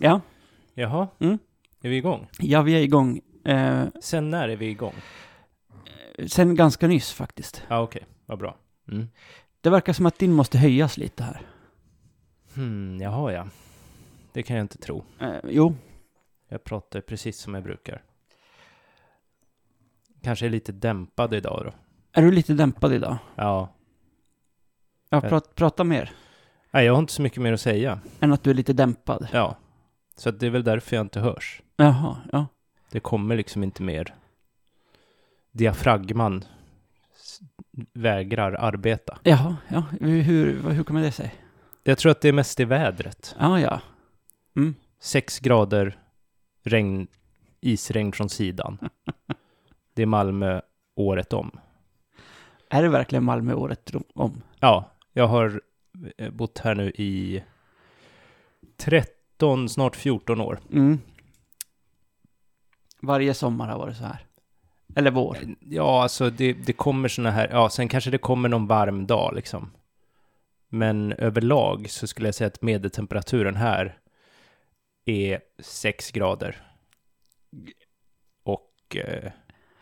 Ja, Jaha, Mm. är vi igång? ja vi är igång. Eh, Sen när är vi igång? sen ganska nyss faktiskt. Ja, ah, okej, vad bra. Mm. Det verkar som att din måste höjas lite här. Hmm, jaha ja. Det kan jag inte tro. Eh, jo, Jag pratar precis som jag brukar. Kanske är lite dämpad idag då. är du lite dämpad idag? Ja. Ja, Eh. prat, prata mer Nej, jag har inte så mycket mer att säga. än att du är lite dämpad. Ja. Så att det är väl därför jag inte hörs. Jaha, ja. Det kommer liksom inte mer. Diafragman s- vägrar arbeta. Jaha, ja. Hur, hur, hur kommer det sig? Jag tror att det är mest i vädret. Ja, ja. Sex grader regn, isregn från sidan. Det är Malmö året om. Är det verkligen Malmö året om? Ja, jag har eh, bott här nu i 13, snart 14 år. Mm. Varje sommar har varit så här. Eller vår. Ja, alltså det, det kommer såna här, ja, sen kanske det kommer någon varm dag liksom. Men överlag så skulle jag säga att medeltemperaturen här är 6 grader. Och eh,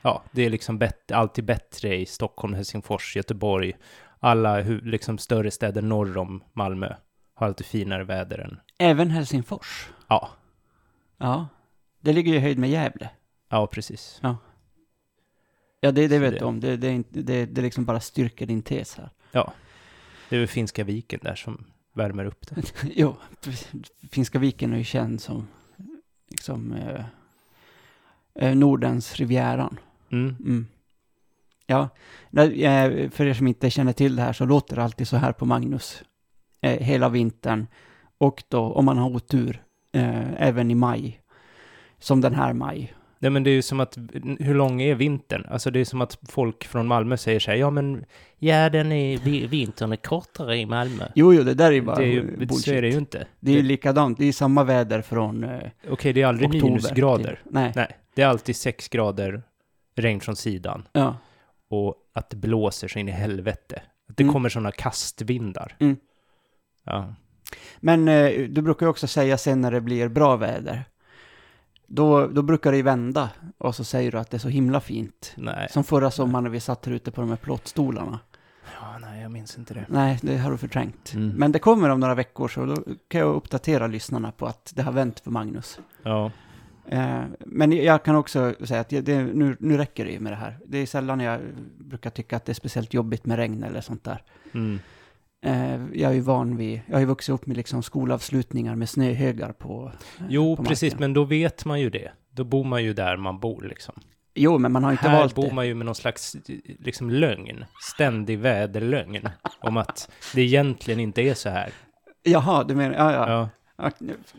ja, det är liksom bet- alltid bättre i Stockholm, Helsingfors, Göteborg. Alla hu- liksom större städer norr om Malmö har alltid finare väder än, Även Helsingfors. ja, Ja. Det ligger ju i höjd med Gävle. ja precis. Ja, det, det Så vet det- du om. Det, det, är inte- det, det liksom bara styrker din tes här. Det är väl Finska viken där som värmer upp det. jo, Finska viken är ju känd som liksom, eh, eh, Nordens Rivieran. Mm. Mm. Ja, nej, eh, för er som inte känner till det här så låter det alltid så här på Magnus eh, hela vintern och då om man har otur eh, även i maj, som den här maj. Nej men det är ju som att, hur lång är vintern? Alltså det är som att folk från Malmö säger så här, ja men, ja den är, vi- vintern är kortare i Malmö. Jo, jo, det där är ju bara det är eh, ju, bullshit. så är det ju inte. Det är ju likadant, det är ju samma väder från eh, Okej, det är aldrig oktober. minusgrader. till- nej, Nej, det är alltid sex grader, regn från sidan ja. och att det blåser så in i helvete. Att det Mm. kommer sådana kastvindar. Mm. Ja. Men eh, du brukar ju också säga sen när det blir bra väder, då, då brukar det ju vända och så säger du att det är så himla fint. Nej. Som förra sommaren när vi satt här ute på de här plåtstolarna. ja, nej jag minns inte det. Nej, det har du förträngt. Mm. Men det kommer om några veckor så då kan jag uppdatera lyssnarna på att det har vänt för Magnus. Ja, Eh, men jag kan också säga att det, nu, nu räcker det ju med det här. Det är sällan jag brukar tycka att det är speciellt jobbigt med regn eller sånt där. mm. Eh, jag är ju van vid, jag har ju vuxit upp med liksom skolavslutningar med snöhögar på Jo, på precis, marken. men då vet man ju det. Då bor man ju där man bor liksom. Jo, men man har inte här valt bor det. man ju med någon slags eh, liksom, lögn, ständig väderlögn, om att det egentligen inte är så här. Jaha, du menar, ja, ja. Ja, Ja,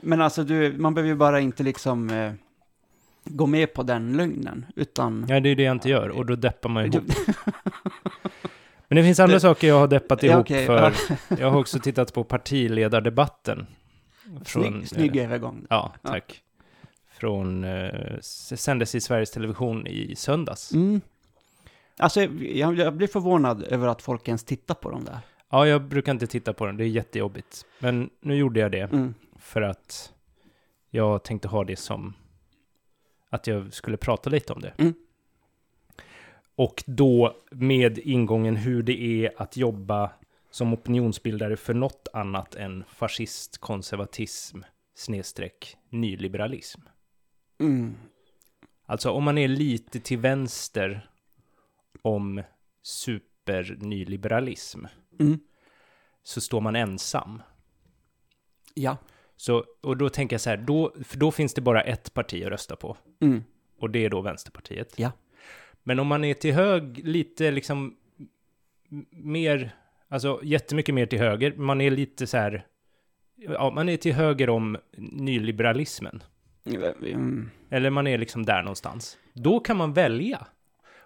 Men alltså, du, man behöver ju bara inte liksom eh, gå med på den lögnen, utan... ja det är ju det jag inte gör, och då deppar man ihop. Men det finns andra saker jag har deppat Ja, ihop okej, för. Jag har också tittat på partiledardebatten. eh, Snygg, snygg övergång. Ja, Ja. tack. Från, eh, s- sändes i Sveriges Television i söndags. Mm. Alltså, jag, jag blir förvånad över att folk ens tittar på dem där. Ja, jag brukar inte titta på den, det är jättejobbigt. Men nu gjorde jag det. Mm. för att jag tänkte ha det som att jag skulle prata lite om det. Mm. Och då med ingången hur det är att jobba som opinionsbildare för något annat än fascist, konservatism, snedstreck, nyliberalism. Mm. Alltså om man är lite till vänster om supernyliberalism Mm. så står man ensam. Ja. Så, och då tänker jag så här, då, för då finns det bara ett parti att rösta på. Mm. Och det är då Vänsterpartiet. Ja. Men om man är till hög, lite liksom m- mer, alltså jättemycket mer till höger, man är lite så här, ja, man är till höger om nyliberalismen. Mm. Eller man är liksom där någonstans. Då kan man välja.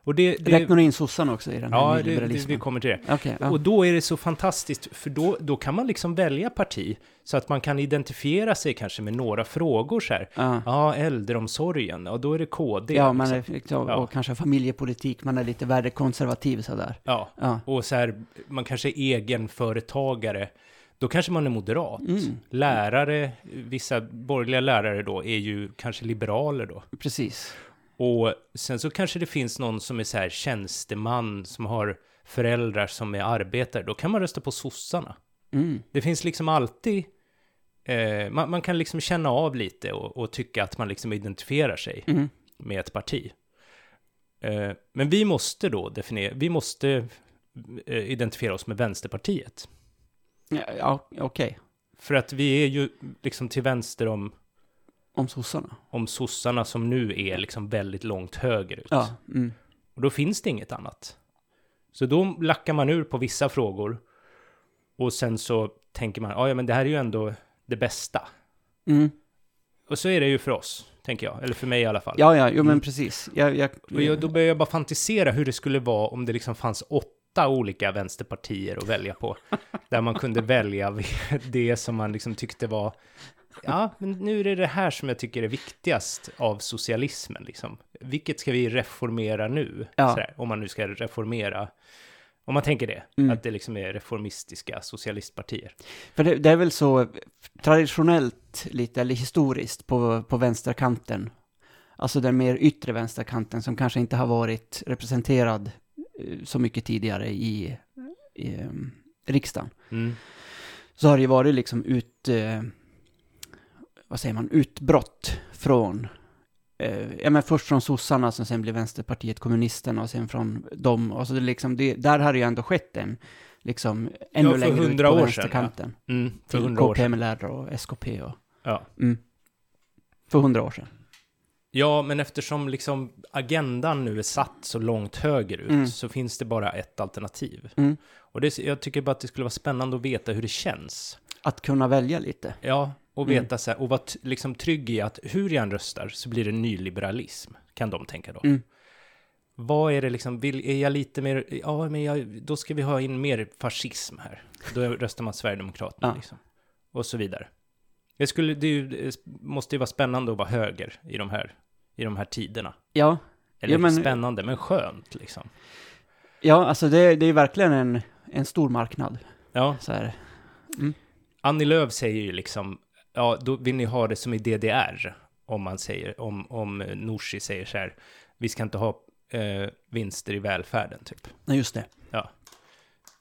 Och det, det Räknar du in sossarna också i den här ja, det, det, vi nyliberalismen? kommer till det. Okej, ja. Och då är det så fantastiskt, för då, då kan man liksom välja parti, så att man kan identifiera sig kanske med några frågor så här. ja. Ja, äldreomsorgen, och då är det KD. Ja, man liksom. är, liksom, Ja. och kanske familjepolitik, man är lite värdekonservativ sådär. ja. Ja. Och så här, man kanske är egenföretagare. Då kanske man är moderat. Mm. Lärare, vissa borgerliga lärare då, är ju kanske liberaler då. Precis. Och sen så kanske det finns någon som är så här tjänsteman som har föräldrar som är arbetare. Då kan man rösta på sossarna. Mm. Det finns liksom alltid, eh, man, man kan liksom känna av lite och, och tycka att man liksom identifierar sig Mm. med ett parti. Eh, men vi måste då definiera, vi måste eh, identifiera oss med Vänsterpartiet. Ja, ja okej. För att vi är ju liksom till vänster om, Om sossarna. om sossarna som nu är liksom väldigt långt högerut. Ja. Mm. Och då finns det inget annat. Så då lackar man ur på vissa frågor. Och sen så tänker man, "Ah, ja men det här är ju ändå det bästa. Mm. Och så är det ju för oss, tänker jag. Eller för mig i alla fall. Ja, ja, jo men precis. Jag, jag, Mm. Och jag, då börjar jag bara fantisera hur det skulle vara om det liksom fanns åtta olika vänsterpartier att välja på. Där man kunde välja det som man liksom tyckte var... Ja, men nu är det det här som jag tycker är viktigast av socialismen. Liksom. Vilket ska vi reformera nu? Ja. Sådär, om man nu ska reformera... Om man tänker det, Mm. att det liksom är reformistiska socialistpartier. För det, det är väl så traditionellt lite, eller historiskt, på, på vänsterkanten. Alltså den mer yttre vänsterkanten som kanske inte har varit representerad eh, så mycket tidigare i, i eh, riksdagen. Mm. Så har det ju varit liksom ut, eh, vad säger man, utbrott från, eh, ja men först från sossarna som sen blev Vänsterpartiet kommunisterna och sen från dem. Alltså det är liksom, det, där har det ju ändå skett en, liksom, ännu för längre ut 100 på år sedan, vänsterkanten. Mm, för Till hundra år sedan. KPMLR och SKP och... Ja. Mm. För hundra år sedan. Ja, men eftersom liksom agendan nu är satt så långt högerut Mm. så finns det bara ett alternativ. Mm. Och det, jag tycker bara att det skulle vara spännande att veta hur det känns. Att kunna välja lite. Ja, och Mm. veta så här, och vara t- liksom trygg i att hur jag än röstar så blir det nyliberalism, kan de tänka då. Mm. Vad är det liksom, vill, är jag lite mer, ja men jag, då ska vi ha in mer fascism här. Då röstar man Sverigedemokraterna Ja. liksom. Och så vidare. Det, skulle, det, är ju- det måste ju vara spännande att vara höger i de här, i de här tiderna. Ja, Eller Ja, men- spännande, men skönt liksom. ja alltså det, det är ju verkligen en, en stor marknad. Ja, Så här. Annie Lööf säger ju liksom, ja, då vill ni ha det som i DDR, om man säger, om, om eh, Nooshi säger så här, vi ska inte ha eh, vinster i välfärden, typ. Nej, just det.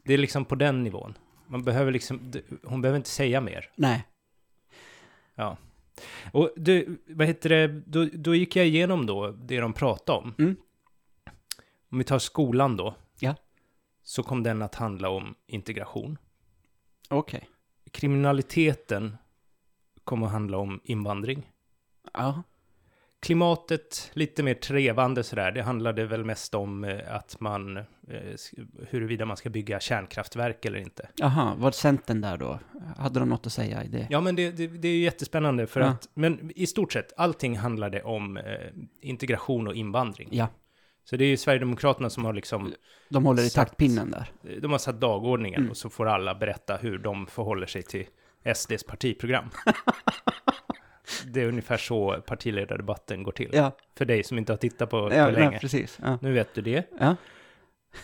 Det är liksom på den nivån. Man behöver liksom, d- hon behöver inte säga mer. Nej. Och du, vad heter det, då, då gick jag igenom då det de pratade om. Mm. Om vi tar skolan då. Ja. Så kom den att handla om integration. Okej. Kriminaliteten kom att handla om invandring. Ja. Klimatet, lite mer trevande sådär, det handlade väl mest om eh, att man, eh, s- huruvida man ska bygga kärnkraftverk eller inte. Jaha, var Centern där då? Hade de något att säga i det? Ja, men det, det, det är ju jättespännande för Ja. att, men i stort sett, allting handlade om eh, integration och invandring. Ja. Så det är ju Sverigedemokraterna som har liksom, De håller i Satt. taktpinnen där. de har satt dagordningen Mm. och så får alla berätta hur de förhåller sig till SDs partiprogram. det är ungefär så partiledardebatten går till. Ja, För dig som inte har tittat på, på ja, länge. ja precis. Ja. Nu vet du det. Ja.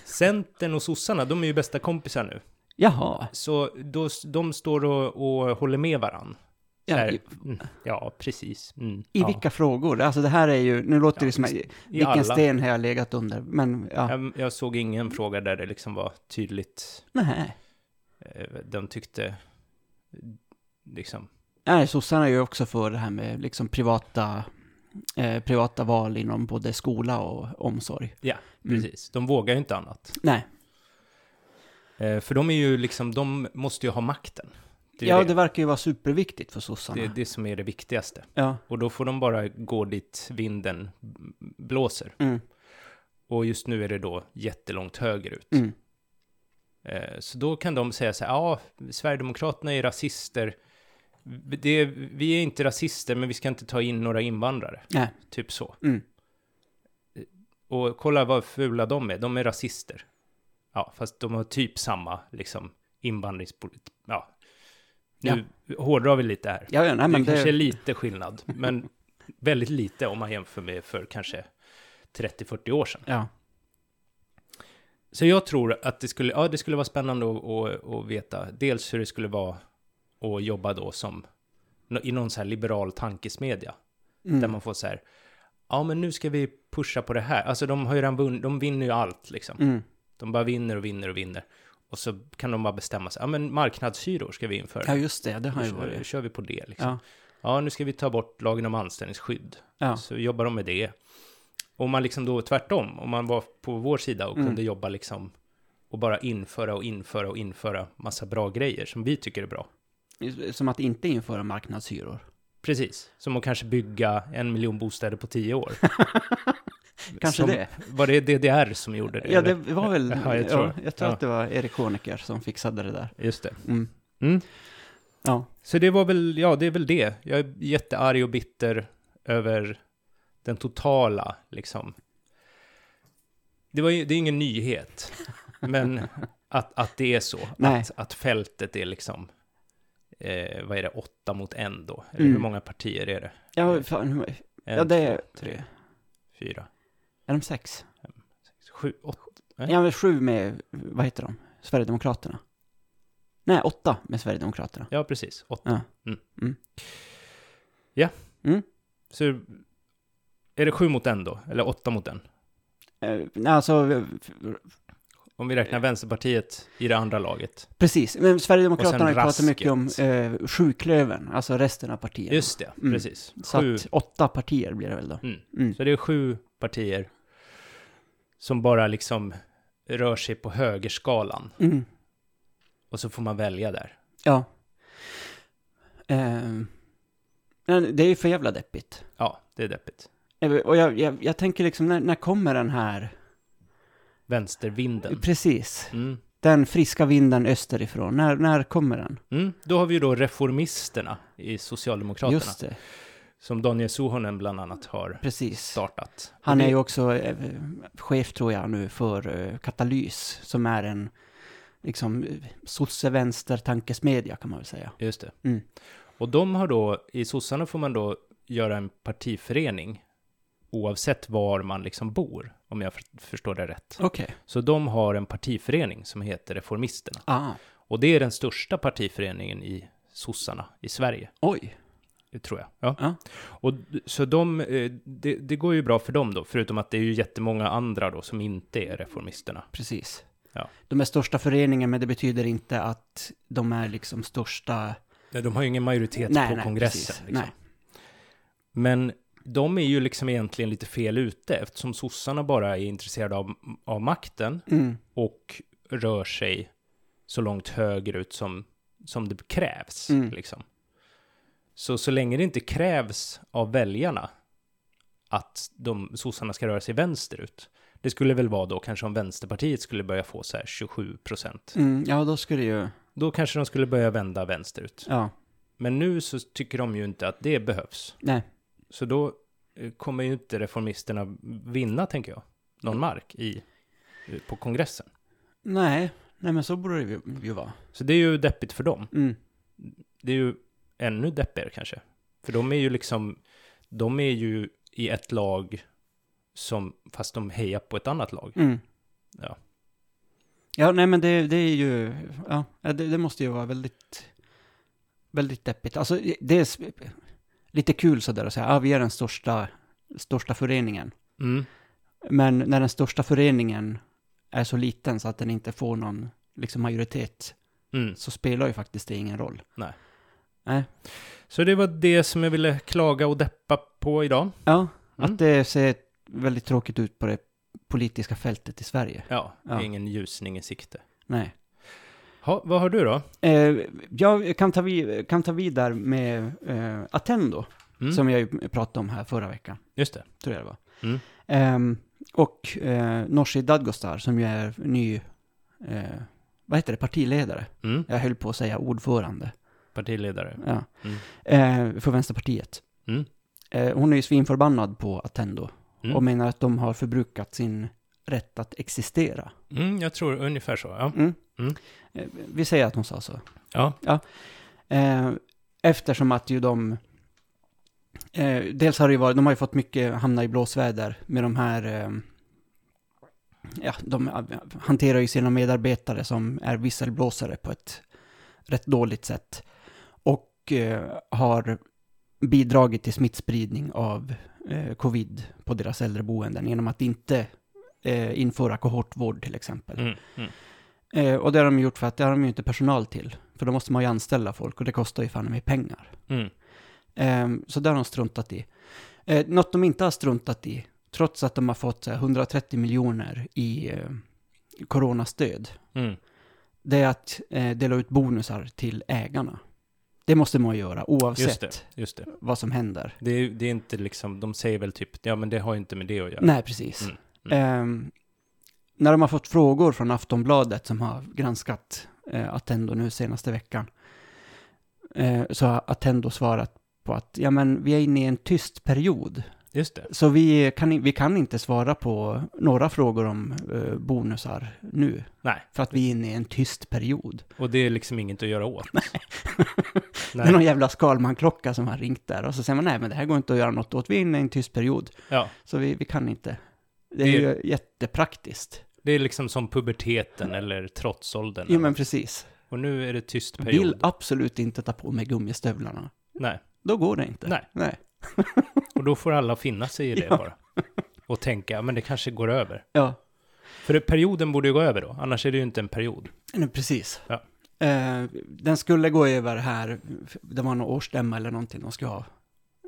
Centern och sossarna, de är ju bästa kompisar nu. Jaha. Så då, de står och, och håller med varann. Så Ja, här, i, mm, ja precis. Mm, I ja. vilka frågor? Alltså det här är ju, nu låter Ja, det som, i vilken alla. sten har jag legat under? Men ja, Jag, jag såg ingen fråga där det liksom var tydligt. nej. eh, De tyckte, eh, liksom, Nej, sossarna är ju också för det här med liksom privata, eh, privata val inom både skola och omsorg. ja, Mm. precis. De vågar ju inte annat. Nej, Eh, För de är ju liksom, de måste ju ha makten. Det är ja det. det verkar ju vara superviktigt för sossarna. Det är det som är det viktigaste. Ja, Och då får de bara gå dit vinden blåser. mm, Och just nu är det då jättelångt högerut. mm, Eh, Så då kan de säga så här, ja, Sverigedemokraterna är rasister. Det, vi är inte rasister, men vi ska inte ta in några invandrare. nej, Typ så. Eh, mm, Och kolla vad fula de är, de är rasister. Ja, fast de har typ samma liksom invandringspolitik. Ja. Nu hårdrar vi lite här. ja, ja, nej men det kanske är det, lite skillnad, men väldigt lite om man jämför med för kanske 30-40 år sedan. ja, Så jag tror att det skulle, ja, det skulle vara spännande att, att, att veta dels hur det skulle vara att jobba då som i någon så här liberal tankesmedja. Mm. Där man får så här, ja men nu ska vi pusha på det här. Alltså de har ju redan vunn, de vinner ju allt liksom. Mm. De bara vinner och vinner och vinner. Och så kan de bara bestämma sig, ja men marknadshyror ska vi införa. Ja, just det. Det har Då ju kör, varit. kör vi på det liksom. Ja. Ja, nu ska vi ta bort lagen om anställningsskydd. Ja. Så jobbar de med det. Om man liksom då tvärtom, om man var på vår sida och Mm. kunde jobba liksom och bara införa och införa och införa massa bra grejer som vi tycker är bra. Som att inte införa marknadshyror. Precis, som att kanske bygga en miljon bostäder på tio år. Kanske som, det. Var det DDR som gjorde det? Ja, det eller? var väl... Ja, jag tror- ja, jag tror ja. att det var Erik Honecker som fixade det där. Just det. Mm. Mm. Ja. Så det var väl, ja det är väl det. Jag är jättearg och bitter över den totala, liksom. Det, var ju, det är ingen nyhet, men att, att det är så. Nej. Att, att fältet är liksom, eh, vad är det, åtta mot en då? Eller Mm. hur många partier är det? Ja, fan, hur- En, Ja, det är- två, tre, fyra, är de sex? sex, sju, åtta. Nej. Ja, men sju med, vad heter de? Sverigedemokraterna. Nej, åtta med Sverigedemokraterna. Ja, precis. Åtta. Ja. Mm. Mm. Ja. Mm. Så är det sju mot en då? Eller åtta mot en? Eh, nej, alltså, eh, f- Om vi Eh. räknar Vänsterpartiet i det andra laget. precis. Men Sverigedemokraterna har ju Och pratat sen mycket om eh, sjuklöven, alltså resten av partierna. Just det, Mm. precis. Så Sju. att åtta partier blir det väl då. Mm. Mm. Så det är sju partier som bara liksom rör sig på högerskalan. Mm. Och så får man välja där. Ja. Eh, men det är ju för jävla deppigt. Ja, det är deppigt. Eh, Och jag, jag, jag tänker liksom, när, när kommer den här... Vänstervinden. Precis. Mm. Den friska vinden österifrån. När, när kommer den? Mm. Då har vi ju då reformisterna i Socialdemokraterna. Just det. Som Daniel Suhonen bland annat har Precis. startat. Han Och är det- ju också eh, chef, tror jag, nu för eh, Katalys, som är en liksom eh, sosse-vänster-tankesmedja, kan man väl säga. Just det. Mm. Och de har då, i sossarna får man då göra en partiförening oavsett var man liksom bor, om jag för- förstår det rätt. Okej. Så de har en partiförening som heter Reformisterna. Ah, Och det är den största partiföreningen i sossarna i Sverige, oj. det tror jag. Ja. Ja. Och d- så de, eh, det, det går ju bra för dem då, förutom att det är ju jättemånga andra då som inte är reformisterna. Precis. Ja. De är största föreningen, men det betyder inte att de är liksom största... Nej, De har ju ingen majoritet på kongressen. precis. liksom. Men de är ju liksom egentligen lite fel ute eftersom sossarna bara är intresserade av, av makten Nej. Mm. och rör sig så långt högerut som, som det krävs. Mm. Liksom. Så, så länge det inte krävs av väljarna att de, sossarna ska röra sig vänsterut, det skulle väl vara då kanske om Vänsterpartiet skulle börja få så här 27 procent. Mm, ja, då skulle ju... Då kanske de skulle börja vända vänsterut. Ja, Men nu så tycker de ju inte att det behövs. nej. Så då eh, kommer ju inte reformisterna vinna, tänker jag, någon mark i, eh, på kongressen. Nej, nej men så borde det ju, ju vara. Så det är ju deppigt för dem. Mm. Det är ju ännu deppigare kanske. För de är ju liksom, de är ju i ett lag som, fast de hejar på ett annat lag. Mm. Ja. Ja, nej men det, det är ju, ja, ja, det, det måste ju vara väldigt, väldigt deppigt. Alltså det är s- lite kul sådär att säga, ja vi är den största, största föreningen. Mm. Men när den största föreningen är så liten så att den inte får någon liksom majoritet Mm. så spelar ju faktiskt det ingen roll. Nej. Nej. Så det var det som jag ville klaga och deppa på idag. Ja, Mm. att det ser väldigt tråkigt ut på det politiska fältet i Sverige. Ja, det är Ja. ingen ljusning i sikte. Nej. Ha, vad har du då? Eh, jag kan ta, vid, kan ta vid där med eh, Attendo, Mm. som jag ju pratade om här förra veckan, Just det. tror jag det var. Mm. Ehm, och eh, Nooshi Dadgostar, som ju är ny, eh, vad heter det, partiledare. Mm. Jag höll på att säga ordförande, Partiledare. ja, Mm. eh, för Vänsterpartiet. Mm. Eh, hon är ju svinförbannad på Attendo Mm. och menar att de har förbrukat sin rätt att existera. Mm, jag tror ungefär så. Ja. Mm. Mm. Eh, vi säger att hon sa så. ja. Eh, eftersom att ju de... Eh, dels har det ju varit, de har ju fått mycket hamna i blåsväder med de här... Eh, ja, de hanterar ju sina medarbetare som är visselblåsare på ett rätt dåligt sätt. Och eh, har bidragit till smittspridning av eh, covid på deras äldreboenden genom att inte eh, införa kohortvård till exempel. Mm, mm. Eh, och det har de gjort för att det har de ju inte personal till. För då måste man ju anställa folk och det kostar ju fan mig pengar. Mm. Eh, så det har de struntat i. Eh, något de inte har struntat i, trots att de har fått så här, 130 miljoner i eh, coronastöd, Mm. det är att eh, dela ut bonusar till ägarna. Det måste man göra Just oavsett det, just det. vad som händer. Det är, det är inte liksom, de säger väl typ, ja men det har ju inte med det att göra. Nej, precis. Mm, Ehm, när de har fått frågor från Aftonbladet som har granskat eh, Attendo nu senaste veckan eh, så har Attendo svarat på att ja, men vi är inne i en tyst period Just det. så vi kan, i- vi kan inte svara på några frågor om eh, bonusar nu Nej, för att vi är inne i en tyst period. och det är liksom inget att göra åt. Det är Nej. någon jävla Skalman-klocka som har ringt där och så säger man nej men det här går inte att göra något åt, vi är inne i en tyst period Ja, så vi, vi kan inte. Det Det- är ju jättepraktiskt. det är liksom som puberteten eller trotsåldern. Jo men precis. Och nu är det tyst period. Vill absolut inte ta på mig gummistövlarna. Nej, Då går det inte. Nej. Nej. och då får alla finna sig i det bara. Och tänka, men det kanske går över. Ja, För det- perioden borde ju gå över då, annars är det ju inte en period. nej, precis. Ja. Eh, den skulle gå över här, det var någon årsstämma eller någonting de skulle ha.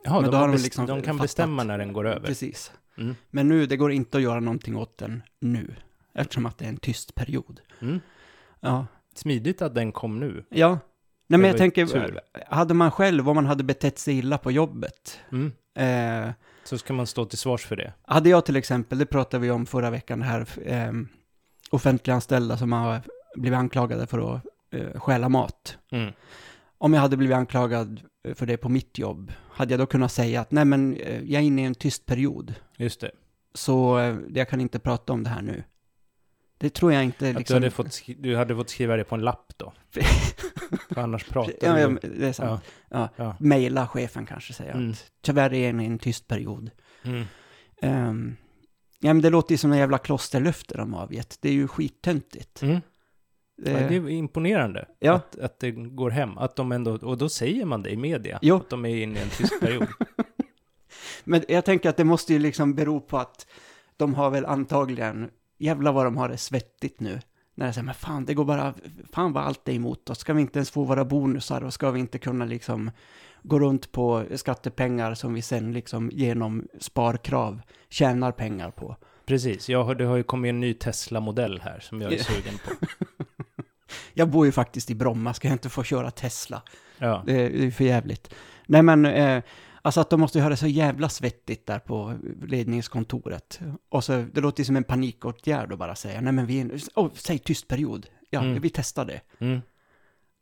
Jaha, Men de, då har har de bes- liksom de kan fattat. bestämma när den går över. Precis. Mm. Men nu, det går inte att göra någonting åt den nu, eftersom att det är en tyst period. Mm. Ja, Smidigt att den kom nu. ja. Nej, men Det jag var tänker, ju tur. hade man själv, om man hade betett sig illa på jobbet, Mm. eh, Så ska man stå till svars för det. Hade jag till exempel, det pratade vi om förra veckan, det här eh, offentliganställda som har blivit anklagade för att eh, stjäla mat. Mm. Om jag hade blivit anklagad eh, för det på mitt jobb, hade jag då kunnat säga att nej men eh, jag är inne i en tyst period, Just det. så eh, jag kan inte prata om det här nu. Det tror jag inte Att liksom... du, hade fått, skri- du hade fått skriva det på en lapp då. För annars pratar ja, du. ja, det är sant. Ja. ja. Maila chefen kanske, säger jag. Mm. Tyvärr är jag inne i en tyst period. Mm. Ehm, ja men det låter ju som en jävla klosterlöfte de avgett. Det är ju skittöntigt. Mm. Ja, Eh, det är imponerande Ja. att, att det går hem. Att de ändå, och då säger man det i media, Jo. att de är inne i en tyst period. Men jag tänker att det måste ju liksom bero på att de har väl antagligen, jävlar vad de har det svettigt nu. När jag säger, men fan, det går bara, fan vad allt är emot oss. Ska vi inte ens få våra bonusar och ska vi inte kunna liksom gå runt på skattepengar som vi sen liksom genom sparkrav tjänar pengar på. Precis, jag har, det har ju kommit en ny Tesla-modell här som jag är sugen på. Jag bor ju faktiskt i Bromma, ska jag inte få köra Tesla? Ja. Det är, det är för jävligt. Nej men, eh, alltså att de måste ju ha det så jävla svettigt där på ledningskontoret. Och så, det låter ju som en panikåtgärd att bara säga, nej men vi är en, oh, säg tyst period. Ja, Mm. vi testar det. Mm.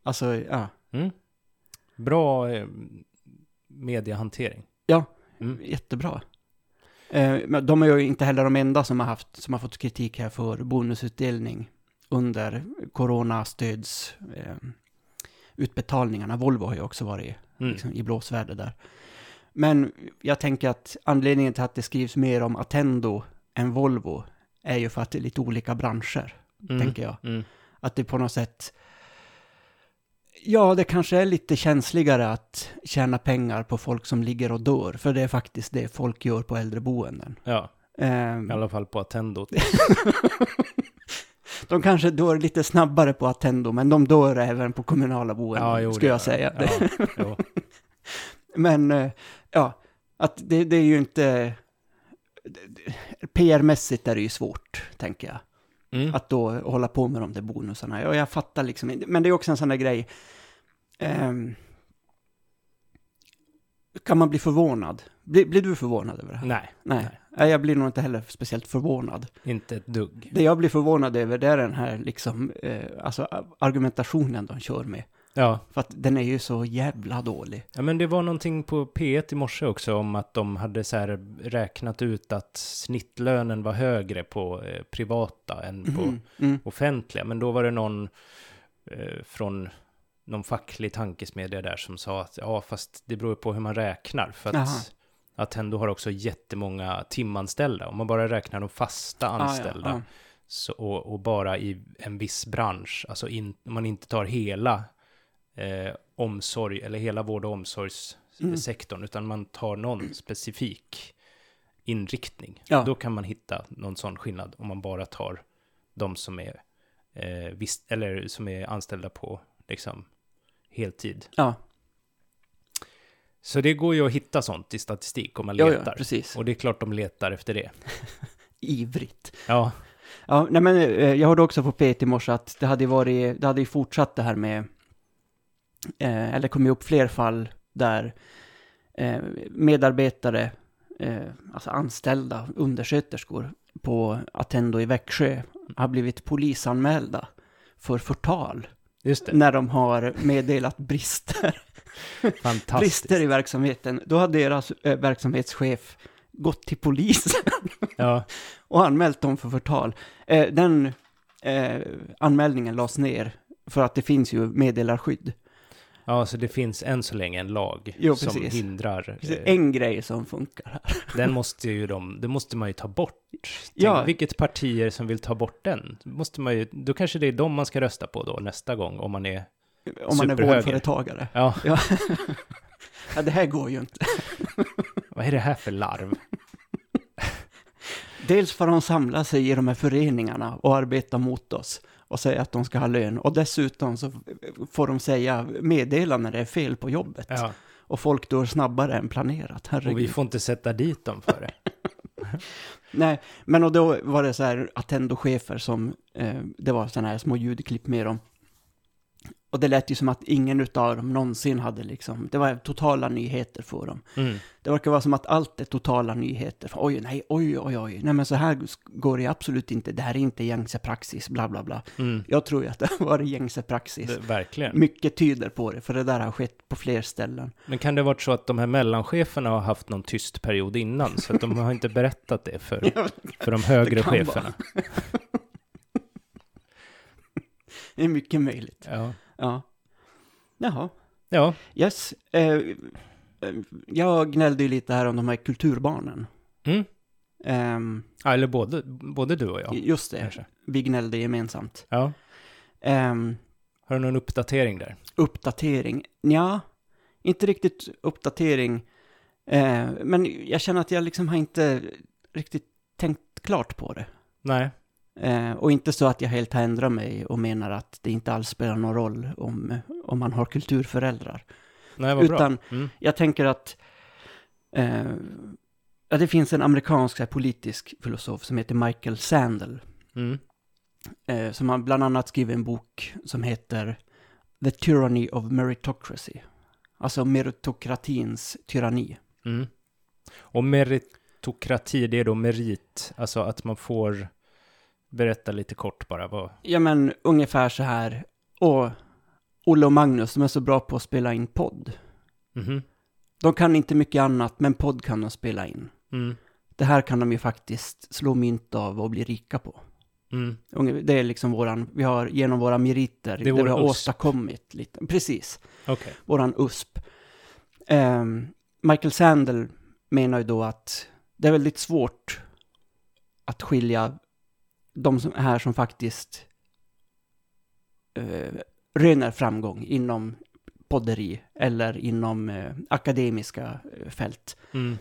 Alltså, ja, Mm. Bra eh, mediehantering. jättebra. Eh, men de är ju inte heller de enda som har, haft, som har fått kritik här för bonusutdelning under coronastöds eh, utbetalningarna. Volvo har ju också varit Mm. liksom, i blåsväder där. Men jag tänker att anledningen till att det skrivs mer om Attendo än Volvo är ju för att det är lite olika branscher, Mm. tänker jag. Mm. Att det på något sätt... Ja, det kanske är lite känsligare att tjäna pengar på folk som ligger och dör, för det är faktiskt det folk gör på äldreboenden. Ja, Ehm, i alla fall på Attendo. De kanske dör lite snabbare på Attendo, men de dör även på kommunala boenden, Ja, jo, skulle det- jag säga. Ja, jo. Men eh, ja, att det, det är ju inte... PR-mässigt är det ju svårt, tänker jag. Mm. Att då hålla på med de där bonusarna. Ja, jag fattar liksom inte. Men det är också en sån där grej. Ehm, kan man bli förvånad? Blir, blir du förvånad över det här? Nej, Nej. Nej, jag blir nog inte heller speciellt förvånad. inte ett dugg. Det jag blir förvånad över, det är den här liksom, eh, alltså argumentationen de kör med. Ja. För att den är ju så jävla dålig. Ja, men det var någonting på P1 i morse också om att de hade så här räknat ut att snittlönen var högre på eh, privata än på Mhm. Mm. offentliga. Men då var det någon eh, från någon facklig tankesmedja där som sa att ja, fast det beror på hur man räknar. För Jaha. att Attendo har också jättemånga timanställda. Om man bara räknar de fasta Ah, ja, anställda ja. så, och, och bara i en viss bransch, alltså in, om man inte tar hela eh, omsorg eller hela vård Mm. och omsorgssektorn, utan man tar någon specifik inriktning. Ja. Då kan man hitta någon sån skillnad om man bara tar de som är, eh, visst, eller som är anställda på liksom, heltid. Ja, Så det går ju att hitta sånt i statistik om man ja, letar. ja precis. Och det är klart de letar efter det. Ivrigt. Ja, Ja, nej men eh, jag hörde också på P1 i morse att det hade ju varit, det hade ju fortsatt det här med, eh, eller kommit upp fler fall där eh, medarbetare, eh, alltså anställda undersköterskor på Attendo i Växjö har blivit polisanmälda för förtal just det. när de har meddelat brister, Fantastiskt. brister i verksamheten. Då har deras eh, verksamhetschef gått till polisen Ja, och anmält dem för förtal. Eh, den eh, anmälningen lades ner för att det finns ju meddelarskydd. ja, så det finns än så länge en lag Jo, som precis. hindrar. Det är eh, en grej som funkar här. Den måste ju de, det måste man ju ta bort. Tänk, Ja. Vilket partier som vill ta bort den? Måste man ju, då kanske det är dem man ska rösta på då nästa gång om man är, Om man är Superhöger. vårdföretagare. ja, Ja, det här går ju inte. vad är det här för larv? Dels får de samla sig i de här föreningarna och arbeta mot oss och säga att de ska ha lön. Och dessutom så får de säga meddela när det är fel på jobbet. Ja, Och folk dör snabbare än planerat. Herregud. och vi får inte sätta dit dem för det. Nej, men och då var det så här Attendo-chefer som, eh, det var sådana här små ljudklipp med dem. Och det lät ju som att ingen utav dem någonsin hade liksom, det var totala nyheter för dem. Mm. Det verkar vara som att allt är totala nyheter. Oj, nej, oj, oj, oj, nej men så här går det absolut inte, det här är inte gängse praxis, bla bla bla. Mm. Jag tror ju att det har varit gängse praxis. Det, verkligen. Mycket tyder på det, för det där har skett på fler ställen. Men kan det ha varit så att de här mellancheferna har haft någon tyst period innan, så att de har inte berättat det för, för de högre Det kan cheferna? Det är mycket möjligt. Ja. Ja. Jaha. ja, Yes. Eh, eh, jag gnällde ju lite här om de här kulturbarnen. Mm. Ehm, Ja, eller både, både du och jag. just det, Kanske. vi gnällde gemensamt. Ja. Ehm, Har du någon uppdatering där? uppdatering? Ja, inte riktigt uppdatering. Eh, men jag känner att jag liksom har inte riktigt tänkt klart på det. Nej. Eh, och inte så att jag helt har ändrat mig och menar att det inte alls spelar någon roll om, om man har kulturföräldrar. Nej, vad bra. Utan- Mm. Jag tänker att eh, ja, det finns en amerikansk så här, politisk filosof som heter Michael Sandel. Mm. Eh, som har bland annat skrivit en bok som heter The Tyranny of Meritocracy. Alltså meritokratins tyranni. Mm. Och meritokrati, det är då merit, alltså att man får berätta lite kort bara vad... Ja men ungefär så här. Och Olle och Magnus, de är så bra på att spela in podd. Mhm. De kan inte mycket annat, men podd kan de spela in. Mm. Det här kan de ju faktiskt slå mynt av och bli rika på. Mm. Unge- Det är liksom våran, vi har genom våra meriter, är det, vår vi har USP. åstadkommit lite, precis, Okej. våran USP. Ehm, Michael Sandel menar ju då att det är väldigt svårt att skilja de som här som faktiskt eh, röner framgång inom podderi eller inom eh, akademiska eh, fält. Mm.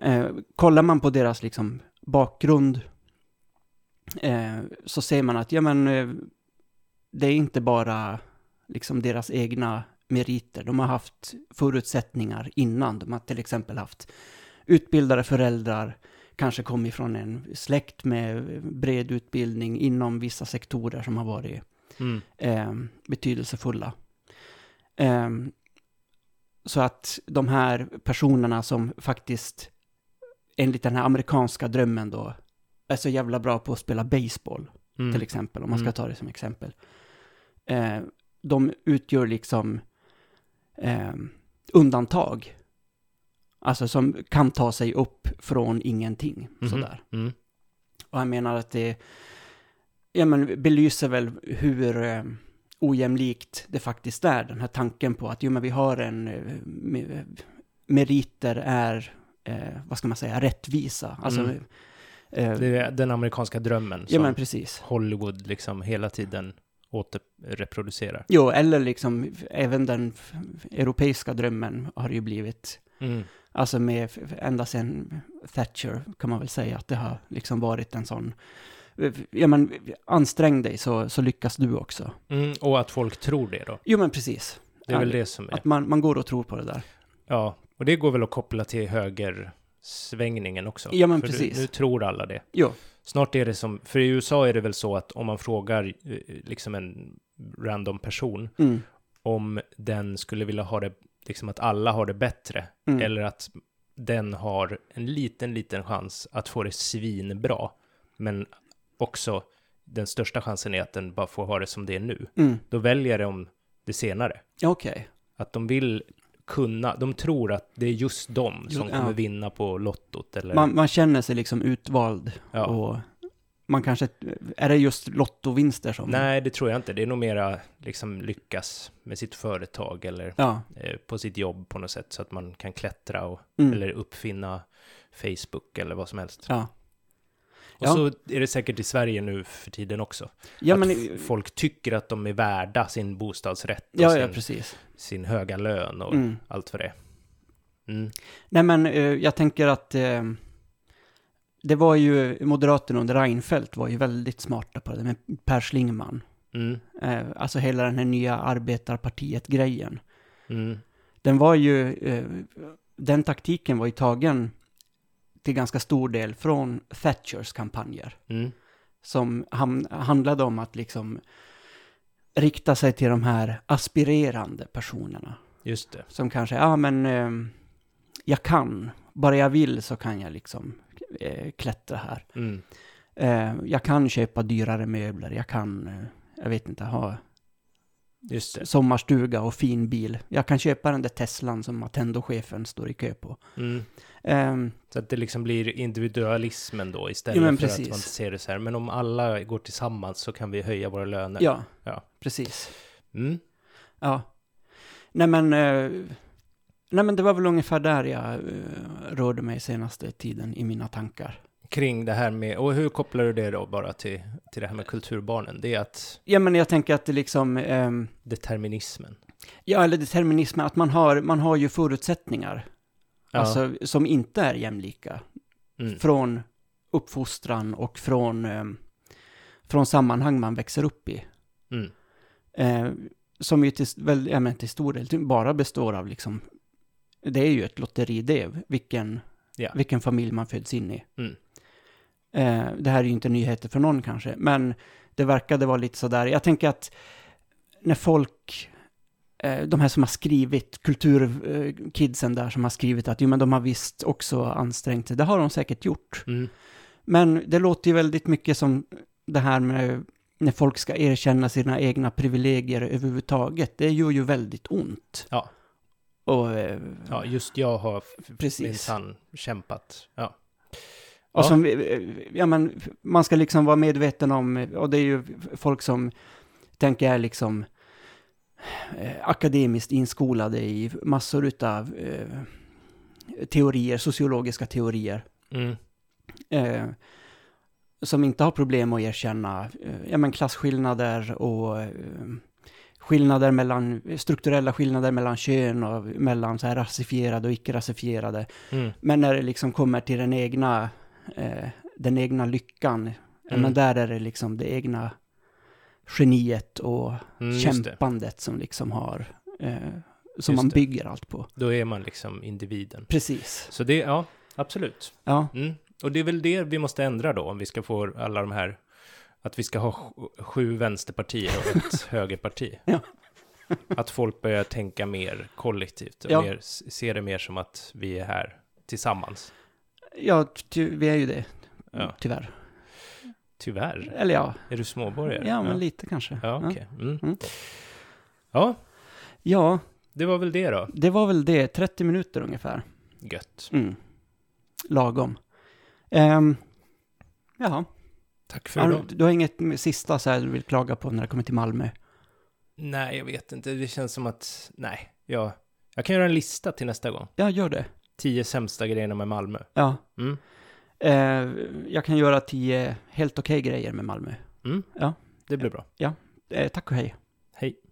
Eh, kollar man på deras liksom, bakgrund eh, så ser man att ja, men, eh, det är inte bara liksom, deras egna meriter. De har haft förutsättningar innan. De har till exempel haft utbildade föräldrar, kanske kom ifrån en släkt med bred utbildning inom vissa sektorer som har varit Mm. eh, betydelsefulla. Eh, så att de här personerna som faktiskt, enligt den här amerikanska drömmen då, är så jävla bra på att spela baseball, Mm. till exempel, om man ska Mm. ta det som exempel. Eh, de utgör liksom eh, undantag. Alltså som kan ta sig upp från ingenting, Mhm. sådär. Mm. Och han menar att det ja, men belyser väl hur eh, ojämlikt det faktiskt är, den här tanken på att jo, men vi har en... Eh, me- meriter är, eh, vad ska man säga, rättvisa. Alltså, Mm. Eh, Det är den amerikanska drömmen ja, som men precis. Hollywood liksom hela tiden återreproducerar. Jo, eller liksom f- även den f- europeiska drömmen har ju blivit, Mm. alltså med f- f- ända sedan Thatcher kan man väl säga att det har liksom varit en sån, eh, ja men ansträng dig så, så lyckas du också. Mm, och att folk tror det då. Jo men precis, Det är väl Ja, det som är... att man, man går och tror på det där. Ja, och det går väl att koppla till högersvängningen också. Ja, men för precis. Nu, nu tror alla det. Jo, Snart är det som, för i USA är det väl så att om man frågar eh, liksom en random person mm, om den skulle vilja ha det, liksom att alla har det bättre, mm. eller att den har en liten, liten chans att få det svinbra, men också den största chansen är att den bara får ha det som det är nu. Mm. Då väljer de det senare. Ja, Okej, Att de vill kunna, de tror att det är just de som Ja. kommer vinna på lottot eller... man, man känner sig liksom utvald ja. och man kanske, är det just lottovinster som? Nej, det tror jag inte. Det är nog mera liksom lyckas med sitt företag eller Ja, eh, på sitt jobb på något sätt så att man kan klättra och, mm. eller uppfinna Facebook eller vad som helst. ja. Och Ja. så är det säkert i Sverige nu för tiden också. Ja, att men, f- folk tycker att de är värda sin bostadsrätt och ja, sin, ja, precis. sin höga lön och Mm. allt vad det är. Mm. Nej, men eh, jag tänker att eh, det var ju, Moderaterna under Reinfeldt var ju väldigt smarta på det, men Per Schlingmann, Mm. eh, alltså hela den här nya arbetarpartiet-grejen, Mm. den var ju, eh, den taktiken var ju tagen till ganska stor del från Thatchers kampanjer, Mm. som ham- handlade om att liksom rikta sig till de här aspirerande personerna. Just det. som kanske, ja ah, men eh, jag kan, bara jag vill så kan jag liksom eh, klättra här. Mm. Eh, jag kan köpa dyrare möbler, jag kan, eh, jag vet inte, ha Just det. sommarstuga och fin bil. Jag kan köpa den där Teslan som Attendo-chefen står i kö på. Mm. Eh, Så att det liksom blir individualismen då istället Jo, men för att precis. man ser det så här. Men om alla går tillsammans så kan vi höja våra löner. ja, Ja. precis. Mm. Ja. Nej men, eh, nej men det var väl ungefär där jag eh, rörde mig senaste tiden i mina tankar. Kring det här med, och hur kopplar du det då bara till, till det här med kulturbarnen? Det är att Ja men jag tänker att det liksom, ehm, determinismen. Ja, eller determinismen, att man har, man har ju förutsättningar Ja. alltså, som inte är jämlika. mm. Från uppfostran och från, eh, från sammanhang man växer upp i. Mm. Eh, som ju till, väl, ja, men till stor del typ bara består av liksom, det är ju ett lotteri det, vilken, Ja. vilken familj man föds in i. Mm. Eh, det här är ju inte nyheter för någon kanske, men det verkade vara lite sådär, jag tänker att när folk, eh, de här som har skrivit, kulturkidsen där som har skrivit att jo men de har visst också ansträngt sig, det har de säkert gjort. Mm. Men det låter ju väldigt mycket som det här med när folk ska erkänna sina egna privilegier överhuvudtaget. Det gör ju väldigt ont. Ja. Och, eh, ja, just jag har precis. minsann kämpat. Ja. Och Ja. som, eh, ja, men, man ska liksom vara medveten om, och det är ju folk som tänker jag är liksom eh, akademiskt inskolade i massor utav eh, teorier, sociologiska teorier. Mm. eh, som inte har problem att erkänna eh, ja, men klasskillnader och eh, skillnader mellan, strukturella skillnader mellan kön och mellan så här rasifierade och icke-rasifierade. Mm. Men när det liksom kommer till den egna, eh, den egna lyckan, ja, Mm. men där är det liksom det egna geniet och Mm, just det. kämpandet som liksom har, eh, som Just man det. bygger allt på. Då är man liksom individen. Precis, Så det, ja, absolut. ja. Mm. Och det är väl det vi måste ändra då, om vi ska få alla de här, att vi ska ha sj- sju vänsterpartier och ett högerparti. Ja. Att folk börjar tänka mer kollektivt och Ja. mer, s- se det mer som att vi är här tillsammans. Ja, ty, vi är ju det, Ja. tyvärr. Tyvärr. Eller ja, Är du småborgare? Ja, men lite kanske. Ja, okej. Mm. Mm. Ja, Ja, det var väl det då. det var väl det. 30 minuter ungefär. Gött. Mm. Lagom. Um, jaha. Tack för Har, idag. du- du har inget m- sista så här du vill klaga på när det kommer till Malmö? Nej, jag vet inte. Det känns som att, nej, jag, jag kan göra en lista till nästa gång. Ja, gör det. Tio sämsta grejerna med Malmö. Ja. Mm. Eh, jag kan göra tio helt okej grejer med Malmö. Mm. Ja. Det blir bra. Eh, tack och hej. Hej.